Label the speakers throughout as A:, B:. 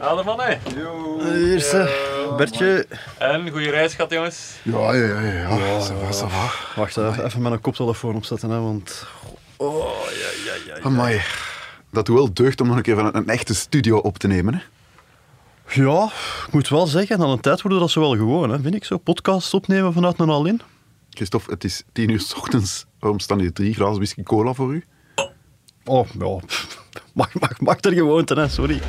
A: Hallo mannen.
B: Eerste, Bertje.
A: En goede reis gehad, jongens.
C: Ja, ja, ja, ja. ja ça va, ça va.
B: Wacht even, even mijn koptelefoon opzetten, hè, want... Oh, ja, ja, ja.
C: Amai. Dat doet wel deugd om nog een keer van een echte studio op te nemen. Hè?
B: Ja, ik moet wel zeggen, aan een tijd worden dat ze wel gewoon, hè, vind ik zo. Podcasts opnemen vanuit een al in.
C: Christophe, het is tien uur s ochtends. Waarom staan hier drie glazen whisky cola voor u?
B: Oh, ja. Mag, mag, mag er gewoonte, hè, sorry.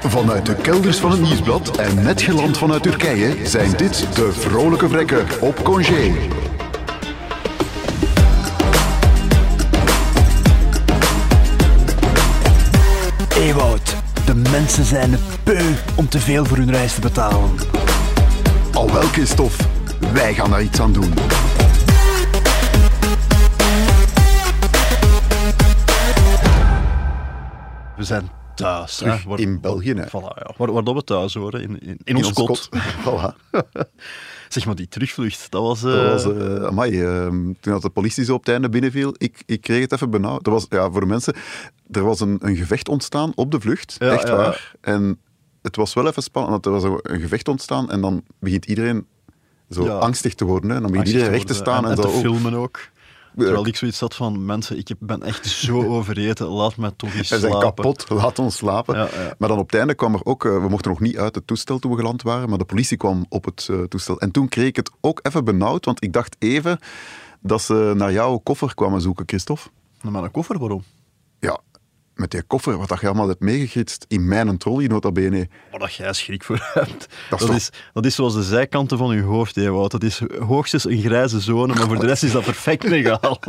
C: Vanuit de kelders van het nieuwsblad en net geland vanuit Turkije zijn dit de vrolijke vrekken op congé.
D: Ewout, de mensen zijn beu om te veel voor hun reis te betalen.
C: Al wel, Christophe, wij gaan daar iets aan doen.
B: We zijn thuis.
C: Terug
B: hè, waar-
C: in België, hè.
B: Voilà, ja. Waar, waar dat we thuis horen, in, in, in, ons kot.
C: Voilà.
B: Zeg maar, die terugvlucht, dat was... eh,
C: Dat was, eh, amai, eh, toen dat de politie zo op het einde binnenviel, ik, ik kreeg het even benauwd. Er was, ja, voor mensen, er was een, een gevecht ontstaan op de vlucht,
B: Ja,
C: echt
B: ja, ja.
C: waar. En het was wel even spannend, want er was een- een gevecht ontstaan en dan begint iedereen zo
B: Ja.
C: angstig te worden. Hè. En dan begint iedereen recht te
B: worden
C: staan en,
B: en
C: zo.
B: te
C: oh.
B: filmen ook. Terwijl ik zoiets had van, mensen, ik ben echt zo overeten, laat mij toch eens
C: We
B: slapen.
C: zijn kapot, laat ons slapen.
B: Ja, ja.
C: Maar dan op het einde kwam er ook, eh, we mochten nog niet uit het toestel toen we geland waren, maar de politie kwam op het eh, toestel. En toen kreeg ik het ook even benauwd, want ik dacht even dat ze naar jouw koffer kwamen zoeken, Christophe.
B: Naar mijn koffer, waarom?
C: Ja, met die koffer, wat dat je allemaal hebt meegegritst in mijn trolley, nota bene.
B: Maar dat jij schrik voor hebt. Dat,
C: toch-
B: is, dat is zoals de zijkanten van je hoofd, hè, Wout. Dat is hoogstens een grijze zone, maar voor de rest is dat perfect legaal.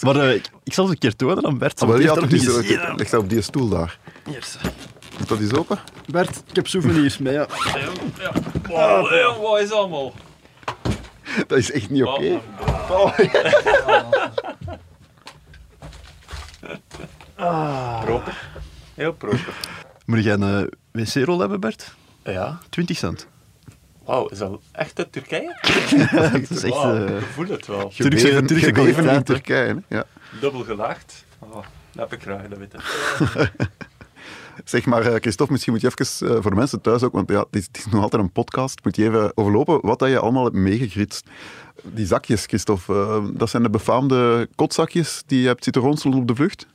B: maar eh, ik, ik zal het een keer tonen aan Bert.
C: Ah, Wel,
B: want die
C: ja,
B: heeft dat
C: dat
B: nog
C: is-
B: niet gezien,
C: leg dat op die stoel daar.
B: hè. Eerst.
C: Moet dat eens open?
B: Bert, ik heb souvenirs mee. Ja.
A: Ja. Wow, ja, wat Oh, is allemaal? Oh.
C: Dat is echt niet oké.
A: Wow. Proper. Ah. Heel proper.
B: Moet jij een eh, wc-rol hebben, Bert?
A: Ja.
B: 20 cent.
A: Wauw, is dat echt uit Turkije?
B: Dat is echt...
A: Wauw,
B: eh,
A: ik voel het wel.
B: Turkse-
C: Gebeven-
B: Turkse
C: gebeven in
B: kwaliteit, hè.
C: Turkije. hè. Ja.
A: Dubbel gelaagd. Oh, dat heb ik graag, dat weet ik.
C: Zeg maar, eh, Christophe, misschien moet je even eh, voor de mensen thuis ook, want ja, het, is, het is nog altijd een podcast, moet je even overlopen wat dat je allemaal hebt meegegritst. Die zakjes, Christophe, eh, dat zijn de befaamde kotzakjes die je hebt zitten ronselen op de vlucht.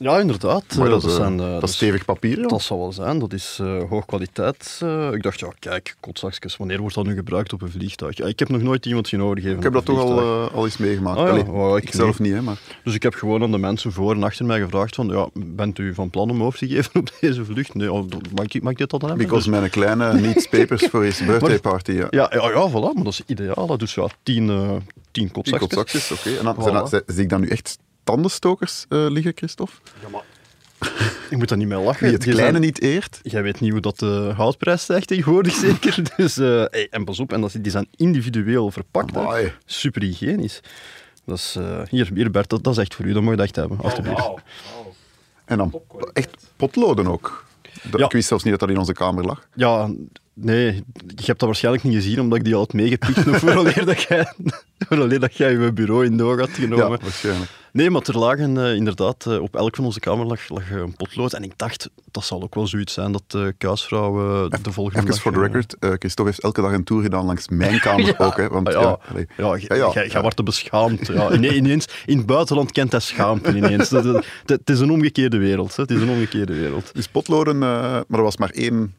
B: Ja, inderdaad.
C: Maar
B: Eh,
C: dat, is, eh,
B: zijn, eh,
C: dat is
B: dus-
C: stevig papier, joh.
B: Dat zal wel zijn, dat is eh hoog kwaliteit. eh. ik dacht, ja, kijk, kotzakjes, wanneer wordt dat nu gebruikt op een vliegtuig? Ja, ik heb nog nooit iemand zien overgeven.
C: Ik heb dat toch al, eh, al eens meegemaakt.
B: Ah, ja.
C: Allee,
B: Oh, ik
C: ik zelf niet, hè, maar...
B: Dus ik heb gewoon aan de mensen voor en achter mij gevraagd: van, ja, bent u van plan om over te geven op deze vlucht? Nee, oh, dat- mag ik, mag ik dit al dan hebben?
C: Because
B: Dus-
C: mijn kleine needs papers voor his birthday party. Ja.
B: ja, ja, ja, voilà, maar dat is ideaal. hè. Dus ja, tien, eh tien
C: Die
B: kotzakjes.
C: kotzakjes, oké. En dan
B: Voilà.
C: zijn dat- zie- zie ik dan nu echt tandenstokers eh, liggen, Christophe?
B: Ik moet daar niet mee lachen.
C: Die het
B: Die
C: kleine
B: zijn-
C: niet eert.
B: Jij weet niet hoe dat de houtprijs stijgt tegenwoordig, zeker. Dus, eh, hey, en pas op, en dat, die zijn individueel verpakt. hè.
C: Amai.
B: Super hygiënisch. Dat is, eh, hier, hier, Bert, dat, dat is echt voor u, dat mag je echt hebben. Alsjeblieft.
A: Oh, Wauw.
C: En dan echt potloden ook. Dat,
B: Ja.
C: Ik wist zelfs niet dat dat in onze kamer lag.
B: Ja, nee, je hebt dat waarschijnlijk niet gezien, omdat ik die al had meegepikt nog vooraleer dat jij, vooraleer dat jij je bureau in de oog had
C: Ja,
B: genomen.
C: waarschijnlijk.
B: Nee, maar er lagen eh, inderdaad, eh, op elk van onze kamer lag, lag eh, een potlood. En ik dacht, dat zal ook wel zoiets zijn dat de kuisvrouw eh, de volgende
C: Even
B: dag,
C: voor de
B: eh,
C: record, eh, Christophe heeft elke dag een tour gedaan langs mijn kamer ook. Hè, want,
B: Ah,
C: ja,
B: ja,
C: allee.
B: ja,
C: Ja, ja,
B: jij-
C: ja.
B: jij wordt te beschaamd. Ja, Ine- ineens, in het buitenland kent hij schaamte ineens. Dat- dat- dat- Het is een omgekeerde wereld. hè. Het is een omgekeerde wereld.
C: Dus potloden, eh, maar er was maar één.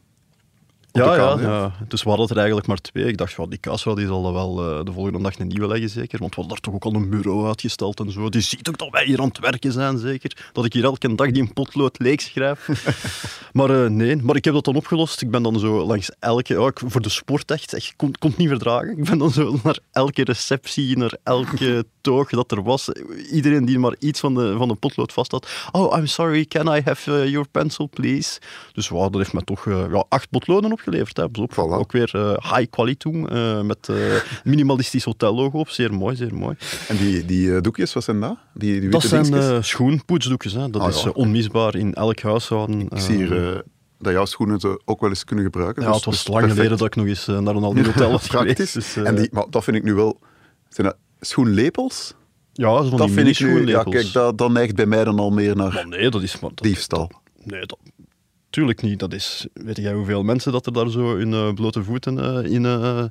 C: de
B: Ja, ja,
C: kamer, ja.
B: ja, dus we hadden er eigenlijk maar twee. Ik dacht, ja, die kaasvrouw die zal er wel eh, de volgende dag een nieuwe leggen, zeker. Want we hadden daar toch ook al een bureau uitgesteld en zo. Die ziet ook dat wij hier aan het werken zijn, zeker. Dat ik hier elke dag die een potlood leeg schrijf. maar eh, nee, maar ik heb dat dan opgelost. Ik ben dan zo langs elke... ja, ik- voor de sport echt, echt kon, kon het niet verdragen. Ik ben dan zo naar elke receptie, naar elke toog dat er was. Iedereen die maar iets van de, van de potlood vast had. Oh, I'm sorry, can I have eh, your pencil, please? Dus wow, dat heeft me toch eh, ja, acht potloden opgeleverd. Hè. Pas op.
C: Voilà.
B: Ook weer eh, high quality eh, met eh, minimalistisch hotellogo op. Zeer mooi, zeer mooi.
C: En die, die eh, doekjes, wat zijn dat? Die, die witte
B: Dat zijn
C: dingetjes?
B: eh, schoenpoetsdoekjes. Hè. Dat
C: Ah,
B: is
C: ja.
B: eh, onmisbaar in elk huishouden.
C: Ik zie hier eh, dat jouw schoenen ze ook wel eens kunnen gebruiken.
B: ja,
C: dus-
B: het was
C: dus
B: lang
C: perfect.
B: geleden dat ik nog eens eh, naar een Aldi hotel was
C: Praktisch.
B: geweest. Dus, eh,
C: en die, maar dat vind ik nu wel... Zijn dat schoenlepels?
B: ja, zo van
C: dat
B: die
C: vind ik nu... Ja,
B: mini-schoenlepels.
C: kijk, dat, dat neigt bij mij dan al meer naar
B: Maar nee, dat is maar... dat-
C: diefstal.
B: Nee, dat, tuurlijk niet. Dat is, weet jij hoeveel mensen dat er daar zo in eh, blote voeten eh, in eh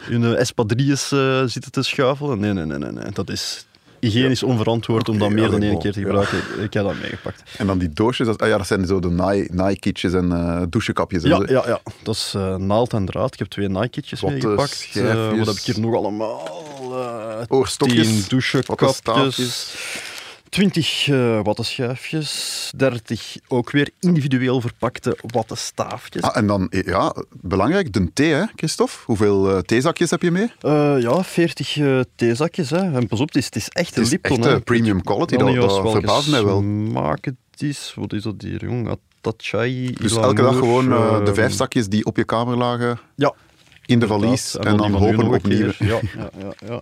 B: hun eh, espadrilles eh, zitten te schuifelen? Nee, nee, nee, nee. nee. Dat is hygiënisch onverantwoord om dat
C: Oké,
B: meer dan
C: allee,
B: één
C: bon,
B: keer te
C: ja.
B: gebruiken. Ik heb dat meegepakt.
C: En dan die doosjes, dat, ah ja, dat zijn zo de naai- naaikitjes en eh, douchekapjes. en
B: Ja,
C: zo.
B: ja, ja, dat is eh, naald en draad. Ik heb twee Nike'tjes
C: Wat, eh,
B: meegepakt. Eh,
C: schijfjes.
B: wat heb ik hier nog allemaal? Eh
C: Oorstokjes,
B: tien douchekapjes.
C: wattenstaafjes.
B: 20 eh wattenschijfjes, 30 ook weer individueel verpakte wattenstaafjes.
C: Ah, en dan, eh, ja, belangrijk, de thee, hè, Christophe? Hoeveel eh, theezakjes heb je mee?
B: Eh, ja, 40 eh, theezakjes. Hè. En pas op, het is, het is echt
C: Het
B: een
C: is
B: Lipton.
C: echt,
B: hè.
C: eh, premium quality,
B: Wel
C: dat-
B: niet als
C: dat
B: welke
C: verbaast mij wel.
B: smaak het is. Wat is dat hier, jong? Atachai,
C: Dus
B: Ilamour,
C: elke dag gewoon eh, de
B: eh,
C: vijf zakjes die op je kamer lagen
B: Ja,
C: in de
B: Inderdaad,
C: valies. En
B: die
C: dan
B: van u
C: hopen
B: nog een
C: opnieuw.
B: keer. Ja, ja, ja. ja.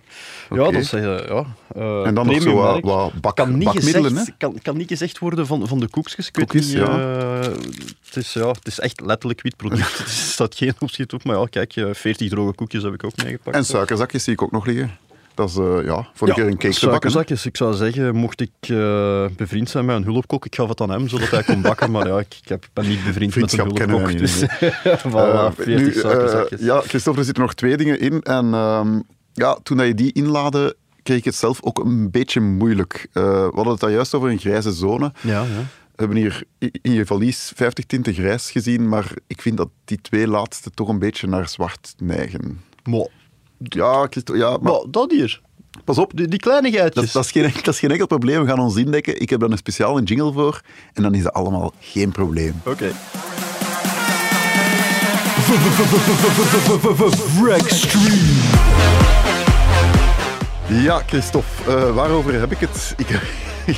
B: ja
C: Oké.
B: dat zeg je, ja. Eh,
C: En dan nog zo
B: premium
C: wat-
B: merk.
C: wat bak-
B: kan niet
C: bakmiddelen,
B: gezegd, kan, kan niet gezegd worden van, van de koekjes. Ik weet
C: Koekjes,
B: niet, eh, het, is, ja, het is echt letterlijk wit product. Er staat geen opschiet op. Maar ja, kijk, eh, 40 droge koekjes heb ik ook meegepakt.
C: En suikerzakjes zie ik ook nog liggen. Dat is, eh, ja, voor een keer een cake te bakken. hè.
B: suikerzakjes. dus Ik zou zeggen, mocht ik eh, bevriend zijn met een hulpkok, ik gaf het aan hem, zodat hij kon bakken. Maar ja, ik, ik heb- ben niet bevriend met een
C: Vriendschap kennen
B: hulpkok.
C: wij
B: Dus,
C: niet,
B: voilà,
C: Eh,
B: 40
C: nu, eh,
B: suikerzakjes.
C: ja, Christophe, er zitten nog twee dingen in. En ehm, ja, toen dat je die inlaadde, kreeg ik het zelf ook een beetje moeilijk. Eh, we hadden het daar juist over een grijze zone.
B: ja, ja.
C: We hebben hier i- in je valies 50 tinten grijs gezien, maar ik vind dat die twee laatste toch een beetje naar zwart neigen.
B: Maar,
C: Ja, Christo- ja maar
B: maar dat hier.
C: pas op,
B: Die, die kleinigheidjes.
C: dat, dat, is geen, dat is geen enkel probleem. We gaan ons indekken. Ik heb daar een speciale jingle voor en dan is dat allemaal geen probleem.
B: Oké.
C: Ja, Christophe, eh, waarover heb ik het? Ik heb... Die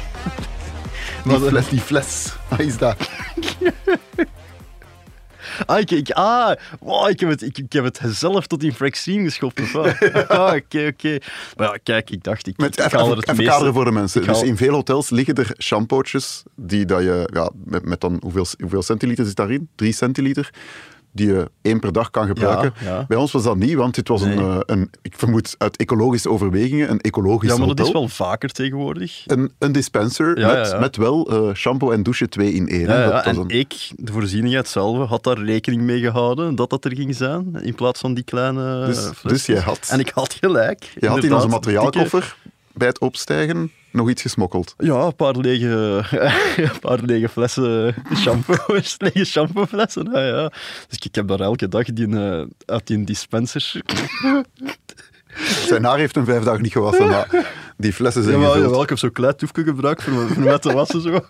B: Wat, eh?
C: fles, die fles. Wat is dat?
B: Ah, ik, ik, ah wow, ik, heb het, ik, ik heb het zelf tot in Fraxine geschopt. of wat? Ah, Oké, oké. Maar ja, kijk, ik dacht, ik,
C: Met,
B: ik
C: even,
B: haal er
C: even,
B: het
C: even
B: meeste-
C: kaderen voor de mensen.
B: ik haal-
C: Dus in veel hotels liggen er shampootjes die dat je, ja, met, met dan hoeveel, hoeveel centiliter zit daarin? Drie centiliter. Die je één per dag kan gebruiken.
B: ja.
C: Bij ons was dat niet, want dit was een,
B: Nee.
C: eh, een, ik vermoed uit ecologische overwegingen, een ecologisch
B: Ja, maar dat
C: hotel.
B: is wel vaker tegenwoordig.
C: Een, een dispenser
B: Ja,
C: met,
B: ja, ja.
C: met wel eh, shampoo en douche twee in één.
B: Ja, ja,
C: hè. Dat- dat is
B: en
C: een-
B: ik, de voorzienigheid zelf, had daar rekening mee gehouden dat dat er ging zijn, in plaats van die kleine eh,
C: Dus-
B: flesjes.
C: dus jij had-
B: En ik had gelijk.
C: je had in
B: inderdaad,
C: onze
B: dikke-
C: materiaalkoffer bij het opstijgen nog iets gesmokkeld.
B: eh, Ja, een paar lege, een paar lege flessen shampoo, lege shampooflessen. Ja, ja. Dus ik heb daar elke dag die, eh, uit die dispenser.
C: Zijn haar heeft hem vijf dagen niet gewassen, maar die flessen zijn
B: Jawel,
C: gevuld.
B: jawel, ik heb zo'n klein toefje gebruikt voor, mijn- voor mijn te wassen. Zo.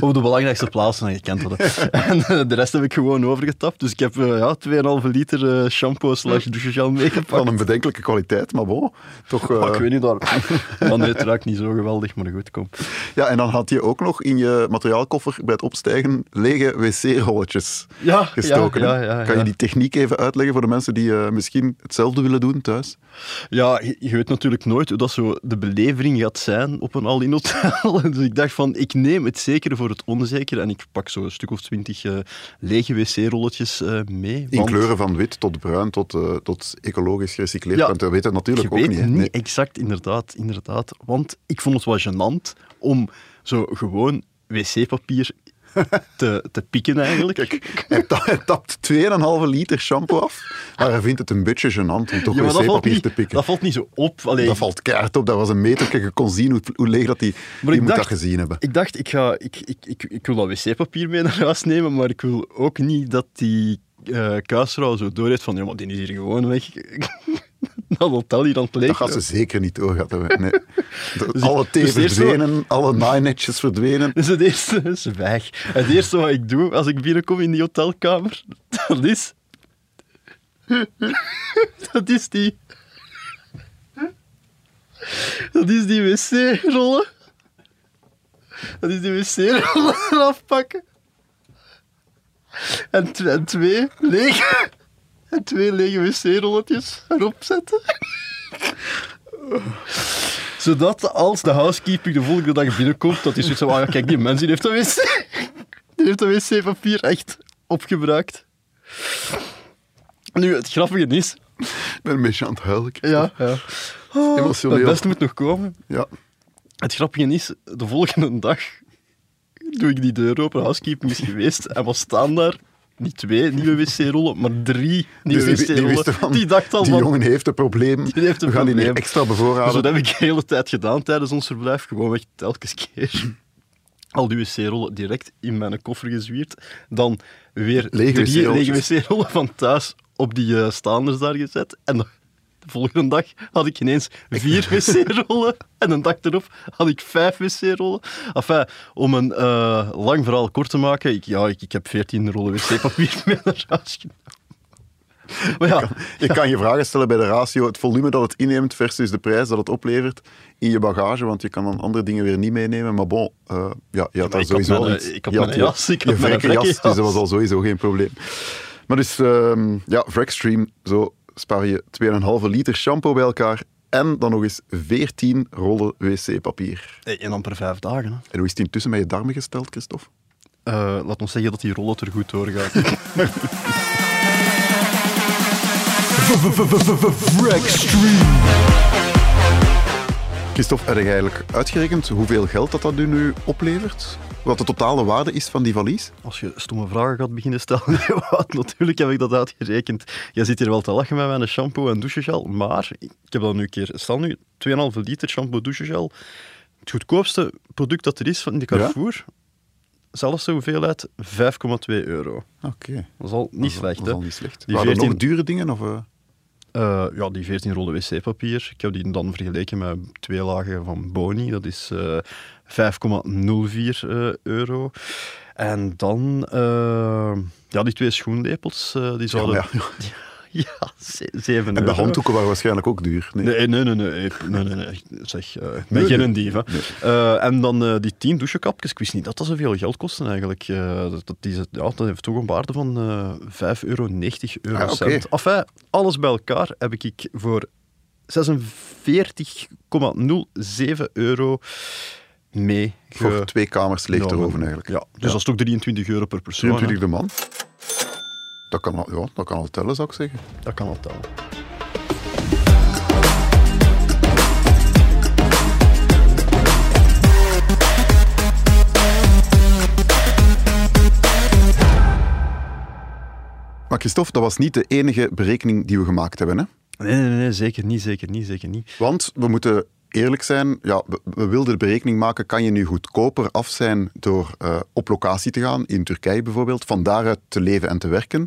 B: Op de belangrijkste plaatsen, je kent dat. hè. En eh, de rest heb ik gewoon overgetapt. Dus ik heb eh, ja, 2,5 liter eh shampoo slash douchegel meegepakt.
C: Van een bedenkelijke kwaliteit, maar bon. Toch, eh,
B: Maar ik weet niet daar. Maar nee, het ruikt niet zo geweldig, maar goed, kom.
C: Ja, en dan had je ook nog in je materiaalkoffer bij het opstijgen lege wc-rolletjes
B: Ja,
C: gestoken.
B: ja,
C: hè?
B: ja, ja,
C: kan je
B: ja.
C: die techniek even uitleggen voor de mensen die eh, misschien hetzelfde willen doen thuis?
B: Ja, je, je weet natuurlijk nooit hoe dat zo de belevering gaat zijn op een all-in hotel. Dus ik dacht van, ik neem het zekere voor het onzekere en ik pak zo een stuk of twintig eh, lege wc-rolletjes eh, mee.
C: In
B: want
C: kleuren van wit tot bruin tot, eh, tot ecologisch gerecycleerd.
B: Ja.
C: Want we weten het
B: Je
C: natuurlijk
B: weet
C: ook niet. hè? Nee.
B: exact, inderdaad, inderdaad. Want ik vond het wel gênant om zo gewoon wc-papier te, te pikken eigenlijk.
C: Hij, ta- hij tapt 2,5 liter shampoo af, maar hij vindt het een beetje gênant om toch
B: Ja, maar dat valt,
C: wc-papier
B: niet,
C: te pikken.
B: dat valt niet zo op. Allee,
C: Dat valt keihard op, dat was een meter. Je kon zien hoe, hoe leeg dat die...
B: Maar
C: die
B: ik
C: moet
B: dacht-
C: dat gezien hebben.
B: Ik dacht, ik, ga, ik, ik, ik, ik wil dat wc-papier mee naar huis nemen, maar ik wil ook niet dat die eh kuisvrouw zo doorheeft van, ja, maar die is hier gewoon weg. dat hotel hier aan het
C: Dat
B: leeg.
C: gaat ze zeker niet door. Gaat dat, nee. De-
B: Dus ik-
C: alle thee
B: dus eerst zo-
C: verdwenen, alle naainetjes verdwenen.
B: Dus het eerste is weg. Het eerste wat ik doe als ik binnenkom in die hotelkamer, dat is... dat is die... Dat is die wc-rollen. Dat is die wc-rollen eraf pakken. En, tw- en twee lege... En twee lege wc-rolletjes erop zetten. Zodat als de housekeeper de volgende dag binnenkomt, dat hij zoiets van, ah, ja, kijk, die mens die heeft dat wc... Die heeft dat wc-papier echt opgebruikt. Nu, het grappige is...
C: Ik ben een beetje aan het huilen.
B: Ja, ja.
C: Emotioneel.
B: Het beste moet nog komen.
C: Ja.
B: Het grappige is, de volgende dag doe ik die deur open, housekeeping is geweest. En wat staan daar? Niet twee nieuwe wc-rollen, maar drie nieuwe
C: Dus die, die
B: wc-rollen.
C: wisten van,
B: die dacht al
C: die
B: van,
C: jongen heeft een probleem.
B: Die heeft een
C: We gaan die
B: probleem.
C: niet extra
B: Dus
C: bevoorraden.
B: dat heb ik de hele tijd gedaan tijdens ons verblijf. Gewoon weg, telkens keer. Al die wc-rollen direct in mijn koffer gezwierd. Dan weer
C: Lege
B: drie
C: wc-rolletjes.
B: lege wc-rollen van thuis op die eh, staanders daar gezet. En de, de volgende dag had ik ineens vier wc-rollen. En een dag erop had ik vijf wc-rollen. Enfin, om een eh, lang verhaal kort te maken. Ik, ja, ik, ik heb veertien rollen wc-papier mee naar huis genomen. Maar ja,
C: Je kan je vragen stellen bij de ratio, het volume dat het inneemt versus de prijs dat het oplevert in je bagage, want je kan dan andere dingen weer niet meenemen. Maar bon, eh, ja, je
B: Maar
C: had daar
B: ik had
C: sowieso
B: mijn,
C: al
B: eh,
C: iets.
B: ik had
C: Je
B: mijn
C: je-
B: jas, ik had
C: je
B: mijn
C: vrekke
B: vrekke
C: jas, dus dat
B: jas.
C: was al sowieso geen probleem. Maar dus, ehm, ja, Vrekstream, zo spaar je 2,5 liter shampoo bij elkaar en dan nog eens 14 rollen wc-papier.
B: eh, en dan per vijf dagen. Hè.
C: En hoe is het intussen met je darmen gesteld, Christophe?
B: Eh, laat ons zeggen dat die rollen er goed doorgaat.
D: Vrekstream.
C: Christophe, heb je eigenlijk uitgerekend hoeveel geld dat dat nu oplevert? Wat de totale waarde is van die valies?
B: Als je stomme vragen gaat beginnen stellen, Wout, natuurlijk heb ik dat uitgerekend. Jij zit hier wel te lachen met mijn shampoo en douchegel, maar ik heb dat nu een keer, staan nu 2,5 liter shampoo douchegel. Het goedkoopste product dat er is van de Carrefour, zelfs de hoeveelheid 5,2 euro.
C: Oké.
B: Dat is al niet slecht,
C: Dat
B: hè?
C: is al niet slecht.
B: Die
C: Waren er
B: 14
C: nog dure dingen? Of, eh?
B: Eh, ja, die 14 rollen wc-papier. Ik heb die dan vergeleken met twee lagen van Boni. Dat is eh, 5,04 eh, euro. En dan, eh, ja, die twee schoenlepels, eh, die zouden...
C: maar ja.
B: Ja, ze- 7 euro.
C: En de handdoeken waren waarschijnlijk ook duur. Nee.
B: Nee, nee, nee, nee, nee, nee, nee, nee. zeg, eh, ik ben
C: Nee,
B: geen
C: nee.
B: een dief. Hè. Eh, en dan eh, die 10 douchekapjes, ik wist niet dat dat zoveel geld kostte eigenlijk. Eh, dat, dat, is, het- ja, dat heeft toch een waarde van eh 5,90 euro.
C: Ah, oké.
B: cent. Enfin, alles bij elkaar heb ik ik voor 46,07 euro mee.
C: Voor twee kamers leeg te
B: genomen.
C: roven eigenlijk.
B: eh, Ja, dus dat is toch 23 euro per persoon. hè.
C: 23 de man. Dat kan, al, ja, dat kan al tellen, zou ik zeggen.
B: Dat kan al tellen.
C: Maar Christophe, dat was niet de enige berekening die we gemaakt hebben. Hè?
B: Nee, nee, nee, zeker niet, zeker niet, zeker niet.
C: Want we moeten eerlijk zijn, ja, we, we wilden de berekening maken, kan je nu goedkoper af zijn door eh, op locatie te gaan, in Turkije bijvoorbeeld, van daaruit te leven en te werken,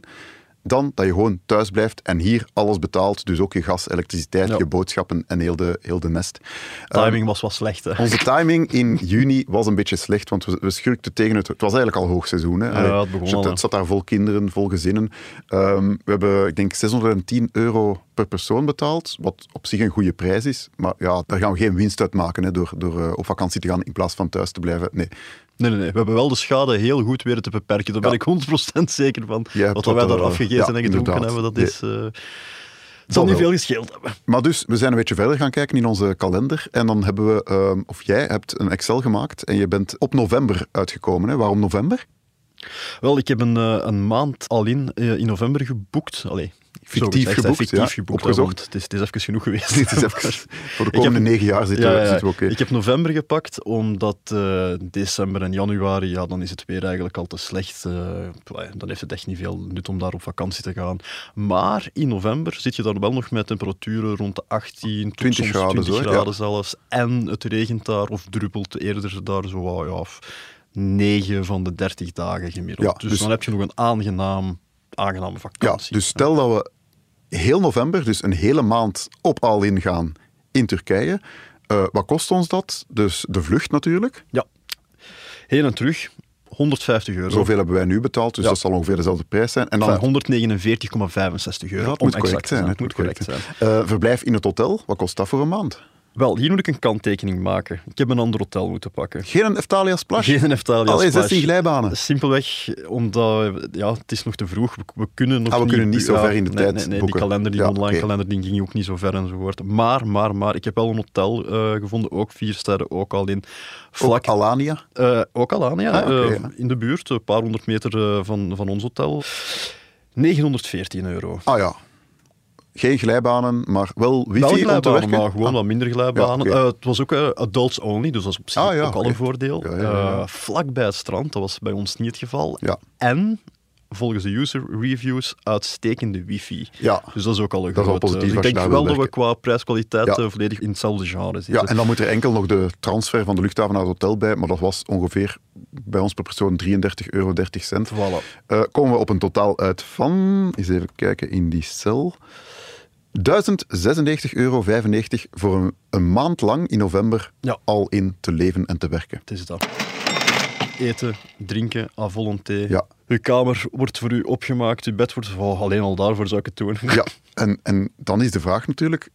C: dan dat je gewoon thuis blijft en hier alles betaalt, dus ook je gas, elektriciteit,
B: Ja.
C: je boodschappen en heel de, heel de nest. Ehm,
B: Timing was wat slecht, hè.
C: onze timing in juni was een beetje slecht, want we, we schurkten tegen het... Het was eigenlijk al hoogseizoen. Hè? Allee,
B: het begon
C: zat-
B: al, hè.
C: het zat daar vol kinderen, vol gezinnen. Ehm, we hebben, ik denk, 610 euro per persoon betaald, wat op zich een goede prijs is. Maar ja, daar gaan we geen winst uit maken hè, door, door eh, op vakantie te gaan in plaats van thuis te blijven. Nee,
B: Nee, nee, nee. We hebben wel de schade heel goed weten te beperken. Daar ben ik 100% zeker van.
C: Jij hebt
B: Wat wij
C: dat,
B: daar
C: eh,
B: afgegeten
C: ja,
B: en gedronken
C: inderdaad.
B: hebben, dat
C: Nee.
B: is... eh, het zal niet
C: wel.
B: veel gescheeld hebben.
C: Maar dus, we zijn een beetje verder gaan kijken in onze kalender. En dan hebben we, ehm, of jij hebt een Excel gemaakt en je bent op november uitgekomen. Hè. Waarom november?
B: Wel, ik heb een, eh, een maand al in, eh, in november geboekt. Allee,
C: Fictief
B: zo gezegd, hè,
C: geboekt,
B: fictief
C: ja.
B: geboekt. hè,
C: Opgezocht.
B: want Het is, het is even genoeg geweest.
C: Dit is even, voor de komende negen jaar zitten,
B: Ja,
C: we-
B: ja, ja.
C: zitten we oké.
B: Ik heb november gepakt, omdat eh, december en januari, ja, dan is het weer eigenlijk al te slecht. Eh, pwai, dan heeft het echt niet veel nut om daar op vakantie te gaan. Maar in november zit je dan wel nog met temperaturen rond de 18 tot
C: 20
B: soms
C: graden
B: 20
C: zo, ja.
B: graden zelfs. En het regent daar, of druppelt eerder daar zo, wat, ja, 9 van de 30 dagen gemiddeld.
C: Ja,
B: dus,
C: dus-
B: dan heb je nog een aangenaam, aangename
C: Ja,
B: vakantie.
C: dus stel dat we heel november, dus een hele maand, op al in gaan in Turkije. Eh, wat kost ons dat? Dus de vlucht natuurlijk.
B: Ja. Heen en terug, 150 euro.
C: Zoveel hebben wij nu betaald, dus
B: Ja.
C: dat zal ongeveer dezelfde prijs zijn. En dan,
B: Enfin, 149,65 euro.
C: Ja, het
B: om
C: moet
B: exact
C: correct
B: te
C: zijn. hè,
B: Het moet correct zijn.
C: Eh, verblijf in het hotel, wat kost dat voor een maand?
B: Wel, hier moet ik een kanttekening maken. Ik heb een ander hotel moeten pakken.
C: Geen een Eftalia Splash?
B: Geen Eftalia
C: Allee,
B: Splash.
C: 16 glijbanen.
B: Simpelweg omdat ja, het is nog te vroeg. We, we kunnen nog
C: Ah, we
B: niet,
C: kunnen niet zo
B: ja,
C: ver in de
B: nee,
C: tijd
B: Nee, nee,
C: boeken.
B: die kalender, die
C: Ja,
B: online
C: oké.
B: kalender, die ging ook niet zo ver enzovoort. Maar, maar, maar, ik heb wel een hotel eh, gevonden, ook vier sterren, ook al in. Vlak
C: Ook Alania.
B: eh, ook al aan, ja.
C: Ah, oké,
B: Eh,
C: ja.
B: in de buurt, een paar honderd meter eh, van, van ons hotel. 914 euro.
C: Ah ja. Geen glijbanen, maar wel
B: Wel
C: wifi om te
B: glijbanen,
C: werken.
B: maar gewoon
C: Ah,
B: wat minder glijbanen.
C: Ja, oké.
B: Eh, het was ook eh, adults only, dus dat is op zich
C: Ah, ja,
B: ook al
C: oké.
B: een voordeel.
C: Ja, ja, ja.
B: Eh, vlak bij het strand, dat was bij ons niet het geval.
C: Ja.
B: En, volgens de user reviews, uitstekende wifi.
C: Ja.
B: Dus dat is ook al een
C: Dat is al
B: grote-
C: positief
B: dus ik
C: als je
B: denk
C: daar
B: wel dat
C: wil
B: we
C: werken.
B: qua prijskwaliteit
C: Ja.
B: eh, volledig in hetzelfde genre zitten.
C: Ja, en dan moet er enkel nog de transfer van de luchthaven naar het hotel bij, maar dat was ongeveer bij ons per persoon 33,30 euro.
B: Voilà.
C: Eh, komen we op een totaal uit van, eens even kijken in die cel, 1096,95 euro voor een, een maand lang in november
B: Ja.
C: al in te leven en te werken.
B: Het is dat. Eten, drinken, à volonté.
C: Ja.
B: Uw kamer wordt voor u opgemaakt, uw bed wordt... oh, alleen al daarvoor zou ik het doen.
C: Ja, en, en dan is de vraag natuurlijk,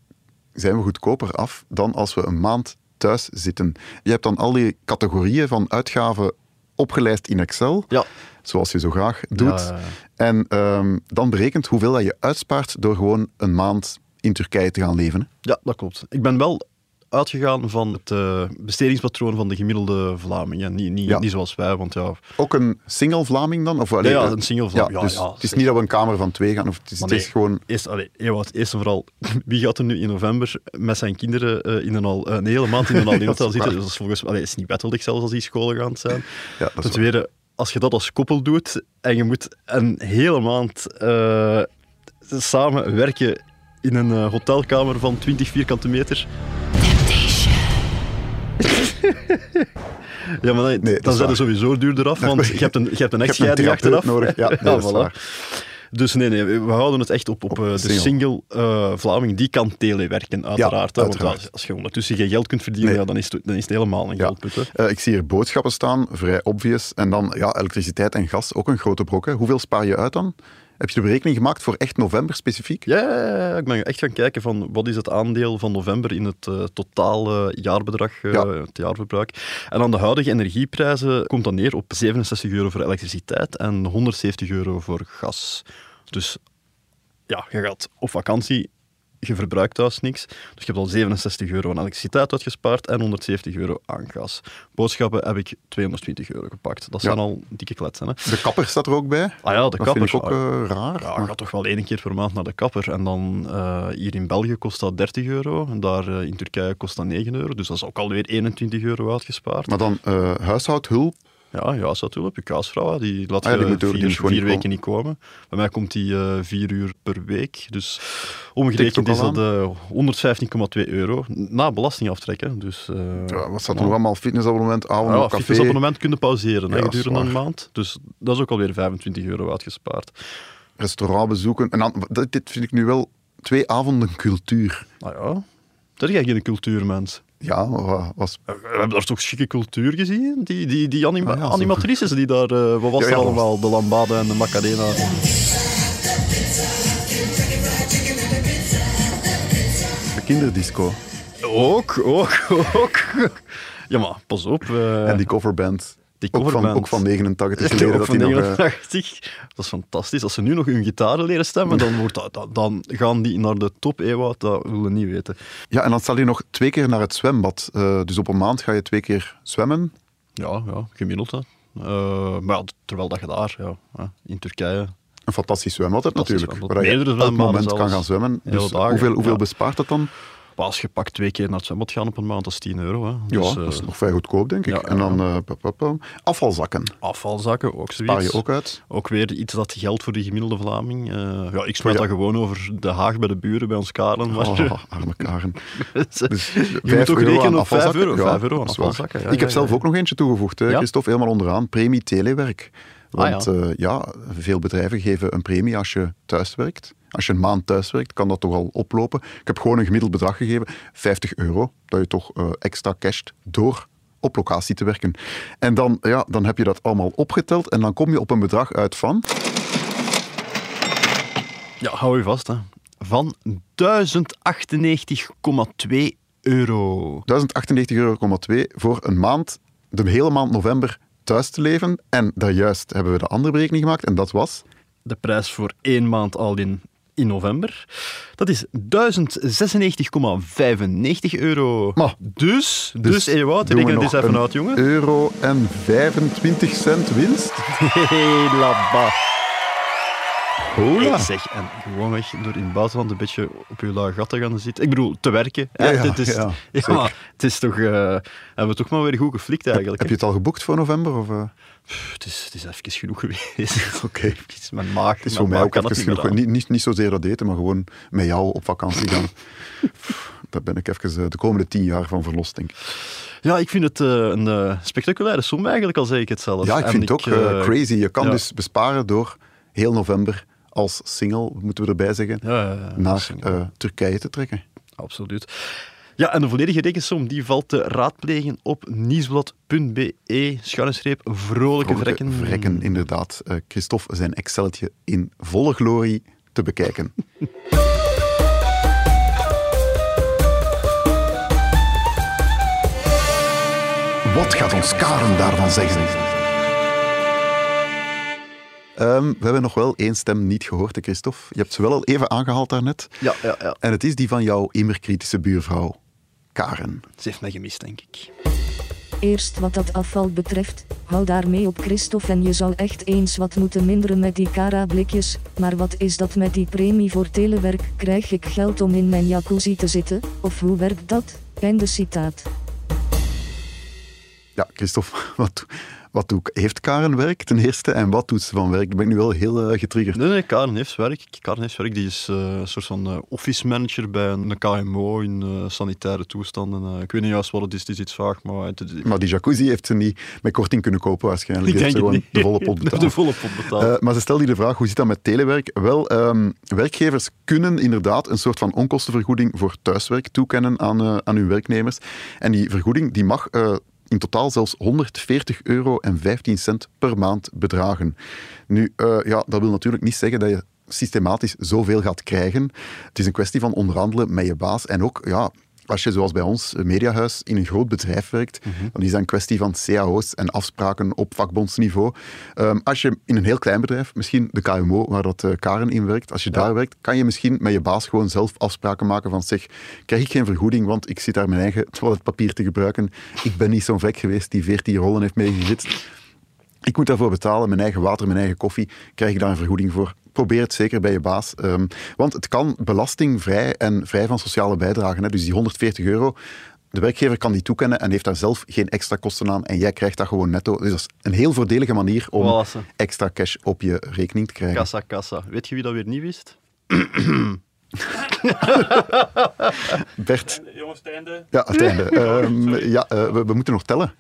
C: zijn we goedkoper af dan als we een maand thuis zitten? Je hebt dan al die categorieën van uitgaven opgelijst in Excel,
B: Ja.
C: zoals je zo graag doet.
B: ja, ja.
C: En ehm, dan berekent hoeveel dat je uitspaart door gewoon een maand in Turkije te gaan leven. hè.
B: Ja, dat klopt. Ik ben wel uitgegaan van het eh, bestedingspatroon van de gemiddelde Vlaming. Ja, niet, niet,
C: Ja.
B: niet zoals wij, want ja...
C: Ook een single Vlaming dan? Of, allee,
B: ja,
C: eh,
B: een single Vlaming. Ja,
C: dus
B: ja,
C: het is
B: zeker.
C: niet dat we een kamer van twee gaan. Of het is,
B: maar
C: het is
B: nee,
C: gewoon...
B: Eerst, allee, Ewout, eerst en vooral, wie gaat er nu in november met zijn kinderen eh, in een, al, een hele maand in een al hotel
C: is
B: zitten?
C: waar.
B: Dus dat is volgens mij allee, is niet wettelijk zelfs als die scholen gaan zijn.
C: Ja, dat
B: Ten
C: is waar.
B: tweede, als je dat als koppel doet en je moet een hele maand eh, samen werken in een eh, hotelkamer van 20 vierkante meter, Ja, maar dan,
C: dat is
B: dan zijn
C: waar.
B: er sowieso duurder af, want je hebt een, je hebt een
C: Je hebt een
B: echtscheiding
C: therapeut
B: achteraf.
C: nodig. Ja, nee, dat is waar.
B: Dus nee, nee, we houden het echt op, op, eh, de
C: single.
B: single, eh, Vlaming. Die kan telewerken, uiteraard. hè, want
C: uiteraard.
B: als- als je ondertussen geen geld kunt verdienen,
C: Nee.
B: ja, dan, is het, dan is het helemaal een geldput. hè.
C: Eh, ik zie hier boodschappen staan, vrij obvious. En dan ja, elektriciteit en gas, ook een grote brok. Hè. Hoeveel spaar je uit dan? Heb je de berekening gemaakt voor echt november specifiek?
B: Ja, ja, ja, ja, ik ben echt gaan kijken van wat is het aandeel van november in het eh, totale jaarbedrag, eh,
C: Ja.
B: het jaarverbruik. En aan de huidige energieprijzen komt dat neer op 67 euro voor elektriciteit en 170 euro voor gas. Dus ja, je gaat op vakantie, je verbruikt thuis niks. Dus je hebt al 67 euro aan elektriciteit uitgespaard en 170 euro aan gas. Boodschappen heb ik 220 euro gepakt. Dat zijn al dikke kletsen. Hè?
C: De kapper staat er ook bij.
B: Ah ja, de
C: dat vind
B: kappers.
C: ik ook
B: ah,
C: eh, raar.
B: ja,
C: maar-
B: je gaat toch wel één keer per maand naar de kapper. En dan eh, hier in België kost dat 30 euro. En daar eh, in Turkije kost dat 9 euro. Dus dat is ook alweer 21 euro uitgespaard.
C: Maar dan eh, huishoudhulp.
B: Ja, ja, zat wel op je kaasvrouw. hè. Die laat
C: Ah ja,
B: je
C: die moet door-
B: vier,
C: die is
B: vier
C: gewoon niet
B: weken
C: komen.
B: niet komen. Bij mij komt die eh vier uur per week. Dus
C: Tikt
B: omgerekend
C: ook
B: is
C: al
B: dat eh 115,2 euro. Na belasting aftrekken. Dus, eh,
C: Ja, wat staat er nog allemaal? Fitnessabonnement, avond,
B: ja,
C: café.
B: fitnessabonnement kunnen pauzeren hè,
C: Ja,
B: gedurende
C: zwaar.
B: een maand. Dus dat is ook alweer 25 euro uitgespaard.
C: restaurant bezoeken. En dan, dat- dit vind ik nu wel twee avonden cultuur.
B: Nou ja, dat is geen cultuurmens.
C: Ja, wa- was...
B: Eh, We hebben daar toch chique cultuur gezien? Die, die, die anima-
C: Ah, ja, zo.
B: animatrices die daar... eh, wat was
C: Ja,
B: er
C: ja, dat
B: allemaal? De Lambada en de Macarena.
C: een kinderdisco.
B: Ook, ook, ook. Ja, maar pas op. eh,
C: en die coverband.
B: die
C: Ook van,
B: coverband.
C: ook van 89
B: Echt,
C: geleden.
B: ook
C: Dat
B: van
C: die nog, eh,
B: 89. Dat is fantastisch. Als ze nu nog hun gitaren leren stemmen, dan, wordt dat, dat- dan gaan die naar de top, Ewout. Dat willen we niet weten.
C: ja, en dan zal je nog twee keer naar het zwembad. Eh, dus op een maand ga je twee keer zwemmen.
B: Ja, ja, gemiddeld, hè. Eh, maar ja, terwijl dat je daar, ja, hè, in Turkije...
C: Een fantastisch zwembad hebt
B: Fantastisch
C: natuurlijk.
B: zwembad.
C: Waar je
B: Meerdere
C: op elk
B: zwembaden
C: moment kan
B: zelfs.
C: gaan zwemmen.
B: Hele
C: Dus
B: dagen,
C: hoeveel, hoeveel
B: ja.
C: bespaart dat dan?
B: Maar als je pakt twee keer naar het zwembad gaan op een maand, dat is 10 euro. Hè.
C: Ja,
B: Dus, eh,
C: dat is nog vrij goedkoop, denk ik.
B: ja, ja,
C: En dan eh, pa, pa, pa. afvalzakken.
B: Afvalzakken, ook zoiets.
C: Spaar je ook uit.
B: Ook weer iets dat geldt voor de gemiddelde Vlaming. Eh, ja, ik spreek
C: Oh, Ja.
B: dat gewoon over De Haag bij de buren, bij ons Karen. Maar Dus
C: Oh, arme Karen.
B: je
C: Dus Vijf
B: moet ook
C: euro
B: rekenen
C: aan
B: op 5
C: afvalzakken.
B: euro,
C: Ja,
B: vijf euro aan
C: dat is waar.
B: afvalzakken. Ja,
C: ik heb
B: ja,
C: zelf
B: ja.
C: ook nog eentje toegevoegd, hè,
B: Ja?
C: Christophe, helemaal onderaan. Premie telewerk.
B: Ah,
C: Want eh, ja. veel bedrijven geven een premie als je thuis werkt. Als je een maand thuis werkt, kan dat toch al oplopen. Ik heb gewoon een gemiddeld bedrag gegeven, 50 euro, dat je toch eh, extra casht door op locatie te werken. En dan, ja, dan heb je dat allemaal opgeteld en dan kom je op een bedrag uit van...
B: Ja, hou je vast. Hè. Van 1098,2 euro.
C: 1098,2 euro voor een maand, de hele maand november, thuis te leven. En daarjuist hebben we de andere berekening gemaakt en dat was...
B: De prijs voor één maand al in, in november. Dat is 1096,95 euro.
C: Maar,
B: dus, dus,
C: Dus
B: Ewout,
C: doen we
B: reken het eens
C: nog
B: even
C: een
B: uit, jongen.
C: Euro en 25 cent winst.
B: Hey, labba.
C: Hola.
B: Ik zeg, en gewoon weg door in het buitenland een beetje op je lage gat te gaan zitten. Ik bedoel, te werken. hè.
C: Ja, ja,
B: het, is,
C: ja,
B: ja,
C: zeker.
B: maar het is toch... eh, hebben we toch maar weer goed geflikt eigenlijk.
C: Heb je
B: hè.
C: het al geboekt voor november? Of, eh?
B: Pff, het, is, het is even genoeg geweest.
C: Oké.
B: Het is mijn maag.
C: Het is voor mij ook even genoeg. Niet, niet, niet zozeer dat eten, maar gewoon met jou op vakantie gaan. Pff, Daar ben ik even eh, de komende tien jaar van verlost, denk ik.
B: Ja, ik vind het eh, een eh, spectaculaire som eigenlijk, al zeg ik het zelf.
C: Ja, ik
B: En
C: vind het ook eh,
B: eh,
C: crazy. Je kan
B: ja.
C: dus besparen door heel november als single, moeten we erbij zeggen,
B: Ja, ja, ja.
C: naar eh, Turkije te trekken.
B: Absoluut. Ja, en de volledige rekensom die valt te raadplegen op nieuwsblad.be, schuine streep, vrolijke
C: Vrolijke
B: vrekken.
C: vrekken, inderdaad. Eh, Christophe zijn Exceltje in volle glorie te bekijken. Wat gaat ons Karen daarvan zeggen? Ehm, we hebben nog wel één stem niet gehoord, hè, Christophe. Je hebt ze wel al even aangehaald daarnet.
B: Ja, ja, ja.
C: En het is die van jouw immer kritische buurvrouw, Karen.
B: Ze heeft mij gemist, denk ik.
E: Eerst wat dat afval betreft, hou daarmee op Christophe en je zou echt eens wat moeten minderen met die cara blikjes, maar wat is dat met die premie voor telewerk, krijg ik geld om in mijn jacuzzi te zitten, of hoe werkt dat? Einde citaat.
C: Ja, Christophe, wat, wat doe ik? Heeft Karen werk ten eerste en wat doet ze van werk? Daar ben ik nu wel heel eh, getriggerd.
B: Nee, nee, Karen heeft werk. Karen heeft werk. Die is eh, een soort van eh, office manager bij een KMO in eh, sanitaire toestanden. Eh, ik weet niet juist wat het is, het is iets vaag, maar... Het, het-
C: Maar die jacuzzi heeft ze niet met korting kunnen kopen waarschijnlijk. Die heeft ze gewoon de volle pot betaald.
B: De volle pot betaald.
C: Eh, maar ze stelde de vraag, hoe zit dat met telewerk? Wel, ehm, werkgevers kunnen inderdaad een soort van onkostenvergoeding voor thuiswerk toekennen aan, eh, aan hun werknemers. En die vergoeding die mag eh, in totaal zelfs 140 euro en 15 cent per maand bedragen. Nu, eh, ja, dat wil natuurlijk niet zeggen dat je systematisch zoveel gaat krijgen. Het is een kwestie van onderhandelen met je baas en ook, ja... Als je zoals bij ons, een mediahuis, in een groot bedrijf werkt, dan is dat een kwestie van cao's en afspraken op vakbondsniveau. Ehm, als je in een heel klein bedrijf, misschien de KMO waar dat eh, Karen in werkt, als je daar werkt, kan je misschien met je baas gewoon zelf afspraken maken van zeg, krijg ik geen vergoeding, want ik zit daar mijn eigen toiletpapier te gebruiken. Ik ben niet zo'n vlek geweest die 14 rollen heeft meegegitst. Ik moet daarvoor betalen, mijn eigen water, mijn eigen koffie. Krijg ik daar een vergoeding voor? Probeer het zeker bij je baas. ehm, want het kan belastingvrij en vrij van sociale bijdragen. Hè. Dus die 140 euro, de werkgever kan die toekennen en heeft daar zelf geen extra kosten aan. En jij krijgt dat gewoon netto. Dus dat is een heel voordelige manier om
B: Voilà.
C: extra cash op je rekening te krijgen.
B: Kassa, kassa. Weet je wie dat weer niet wist?
C: Bert,
A: Jongens, het einde.
C: ja, het einde. Ehm, ja, eh, we, we moeten nog tellen.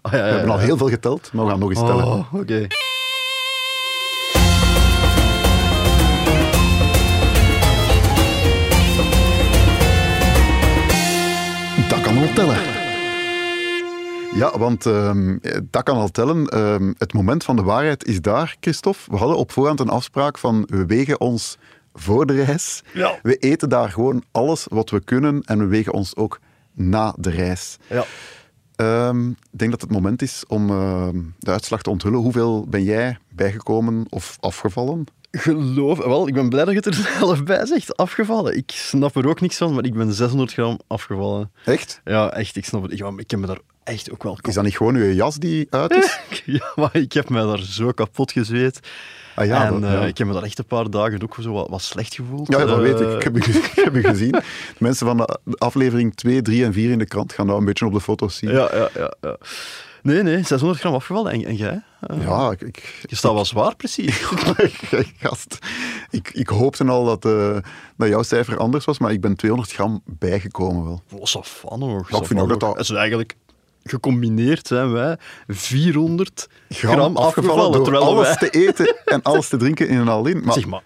B: Ah, ja, ja,
C: We hebben
B: ja.
C: al heel veel geteld, maar we gaan nog eens tellen.
B: Oh, oké.
C: Dat kan al tellen. Ja, want ehm, eh, dat kan al tellen. Ehm, het moment van de waarheid is daar, Christophe. We hadden op voorhand een afspraak van we wegen ons voor de reis.
B: Ja.
C: We eten daar gewoon alles wat we kunnen en we wegen ons ook na de reis.
B: Ja.
C: Ehm, ik denk dat het moment is om ehm, de uitslag te onthullen. Hoeveel ben jij bijgekomen of afgevallen?
B: Geloof, wel, ik ben blij dat je het er zelf bij zegt. Afgevallen. Ik snap er ook niks van, maar ik ben 600 gram afgevallen.
C: Echt?
B: Ja, echt, ik snap het. Ik, ja, maar ik heb me daar echt ook wel
C: Is
B: kapot...
C: dat niet gewoon uw jas die uit is?
B: Ja, maar ik heb me daar zo kapot gezweet.
C: Ah ja,
B: en
C: dat-
B: eh,
C: ja.
B: ik heb me daar echt een paar dagen ook zo wat, wat slecht gevoeld.
C: Ja, dat
B: Eh,
C: weet ik. Ik heb, u ge- ik heb u gezien. De mensen van de aflevering 2, 3 en 4 in de krant gaan dat een beetje op de foto's zien.
B: Ja, ja, ja. ja. Nee, nee, 600 gram afgevallen. En, en jij? Eh,
C: Ja, ik, ik,
B: Je staat wel zwaar, precies.
C: gast. Ik, ik hoopte al dat, eh, dat jouw cijfer anders was, maar ik ben 200 gram bijgekomen wel.
B: Wat een fan hoor.
C: Ja, ik vind ook dat dat-
B: Het is eigenlijk gecombineerd zijn wij 400 gram, afgevallen,
C: door
B: terwijl
C: alles
B: wij...
C: te eten en alles te drinken in een al-in. Maar,
B: Zeg maar,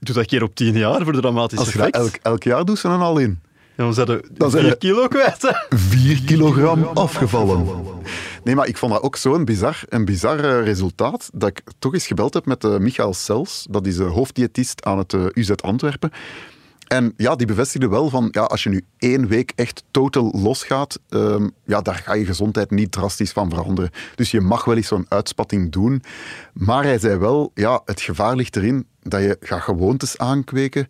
B: doe dat keer op 10 jaar voor de dramatische
C: als je dat
B: effect.
C: elk, elk jaar doet, zijn een al-in.
B: En dan zijn
C: Dan
B: we 4
C: zijn we-
B: kilo kwijt. Hè?
C: 4 kilogram afgevallen. Nee, maar ik vond dat ook zo'n bizar, een bizar eh, resultaat dat ik toch eens gebeld heb met eh, Michael Sels. Dat is de hoofddiëtist aan het eh, UZ Antwerpen. En ja, die bevestigde wel van, ja, als je nu één week echt total losgaat, ehm, ja, daar ga je gezondheid niet drastisch van veranderen. Dus je mag wel eens zo'n uitspatting doen. Maar hij zei wel, ja, het gevaar ligt erin dat je gaat gewoontes aankweken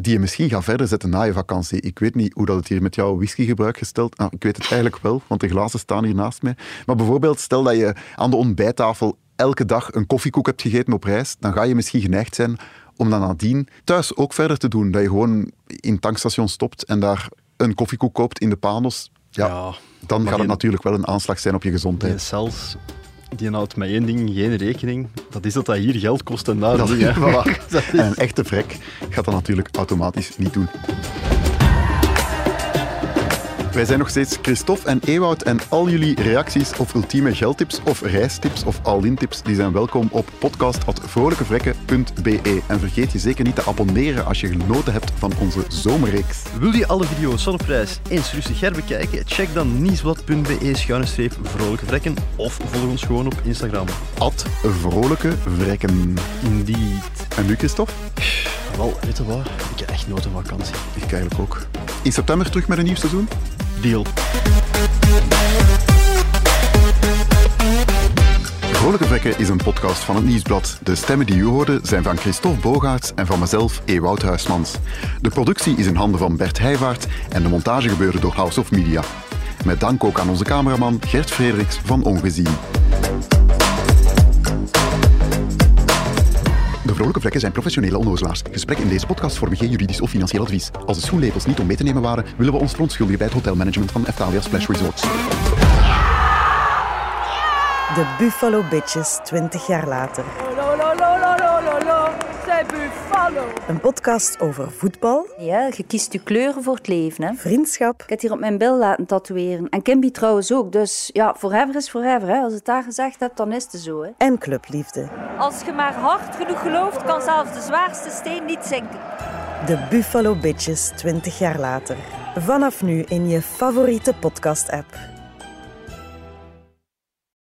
C: die je misschien gaat verder zetten na je vakantie. Ik weet niet hoe dat het hier met jouw whiskygebruik gesteld... Nou, ik weet het eigenlijk wel, want de glazen staan hier naast mij. Maar bijvoorbeeld, stel dat je aan de ontbijttafel elke dag een koffiekoek hebt gegeten op reis, dan ga je misschien geneigd zijn om dan nadien thuis ook verder te doen. Dat je gewoon in tankstation stopt en daar een koffiekoek koopt in de panos. Ja,
B: Ja,
C: dan
B: maar
C: gaat het
B: je-
C: natuurlijk wel een aanslag zijn op je gezondheid.
B: Die cells, die houdt met één ding geen rekening. Dat is dat dat hier geld kost en daar
C: Dat,
B: niet. hè.
C: voilà.
B: Dat is-
C: En een echte vrek gaat dat natuurlijk automatisch niet doen. Wij zijn nog steeds Christophe en Ewout en al jullie reacties of ultieme geldtips of reistips of all-in-tips die zijn welkom op podcast.vrolijkevrekken.be. En vergeet je zeker niet te abonneren als je genoten hebt van onze zomerreeks.
B: Wil je alle video's zonder prijs eens rustig herbekijken? Check dan nieswat.be-vrolijke vrekken of volg ons gewoon op Instagram.
C: Ad Vrolijke Vrekken.
B: Indeed.
C: En nu Christophe?
B: Wel, weet je wat? Ik heb echt nood aan vakantie.
C: Ik eigenlijk ook. In september terug met een nieuw seizoen?
B: Deal.
C: Vrolijke Vrekken is een podcast van het Nieuwsblad. De stemmen die u hoorde zijn van Christophe Bogaerts en van mezelf, Ewout Huismans. De productie is in handen van Bert Heijvaart en de montage gebeurde door House of Media. Met dank ook aan onze cameraman Gert Frederiks van Ongezien. De Vrolijke Vrekken zijn professionele onnozelaars. Gesprekken in deze podcast vormen geen juridisch of financieel advies. Als de schoenlepels niet om mee te nemen waren, willen we ons verontschuldigen bij het hotelmanagement van Eftalia Splash Resorts.
F: De Buffalo Bitches 20 jaar later.
G: Lo, lo, lo, lo, lo, lo, lo. C'est Buffalo.
F: Een podcast over voetbal,
H: Ja, je kiest je kleuren voor het leven. Hè. Ik
F: vriendschap
H: heb het hier op mijn bil laten tatoeëren. En Kimby trouwens ook. Dus ja, forever is forever. Hè. Als je het daar gezegd hebt, dan is het zo. Hè.
F: en clubliefde.
G: Als je maar hard genoeg gelooft, kan zelfs de zwaarste steen niet zinken.
F: De Buffalo Bitches 20 jaar later. Vanaf nu in je favoriete podcast-app.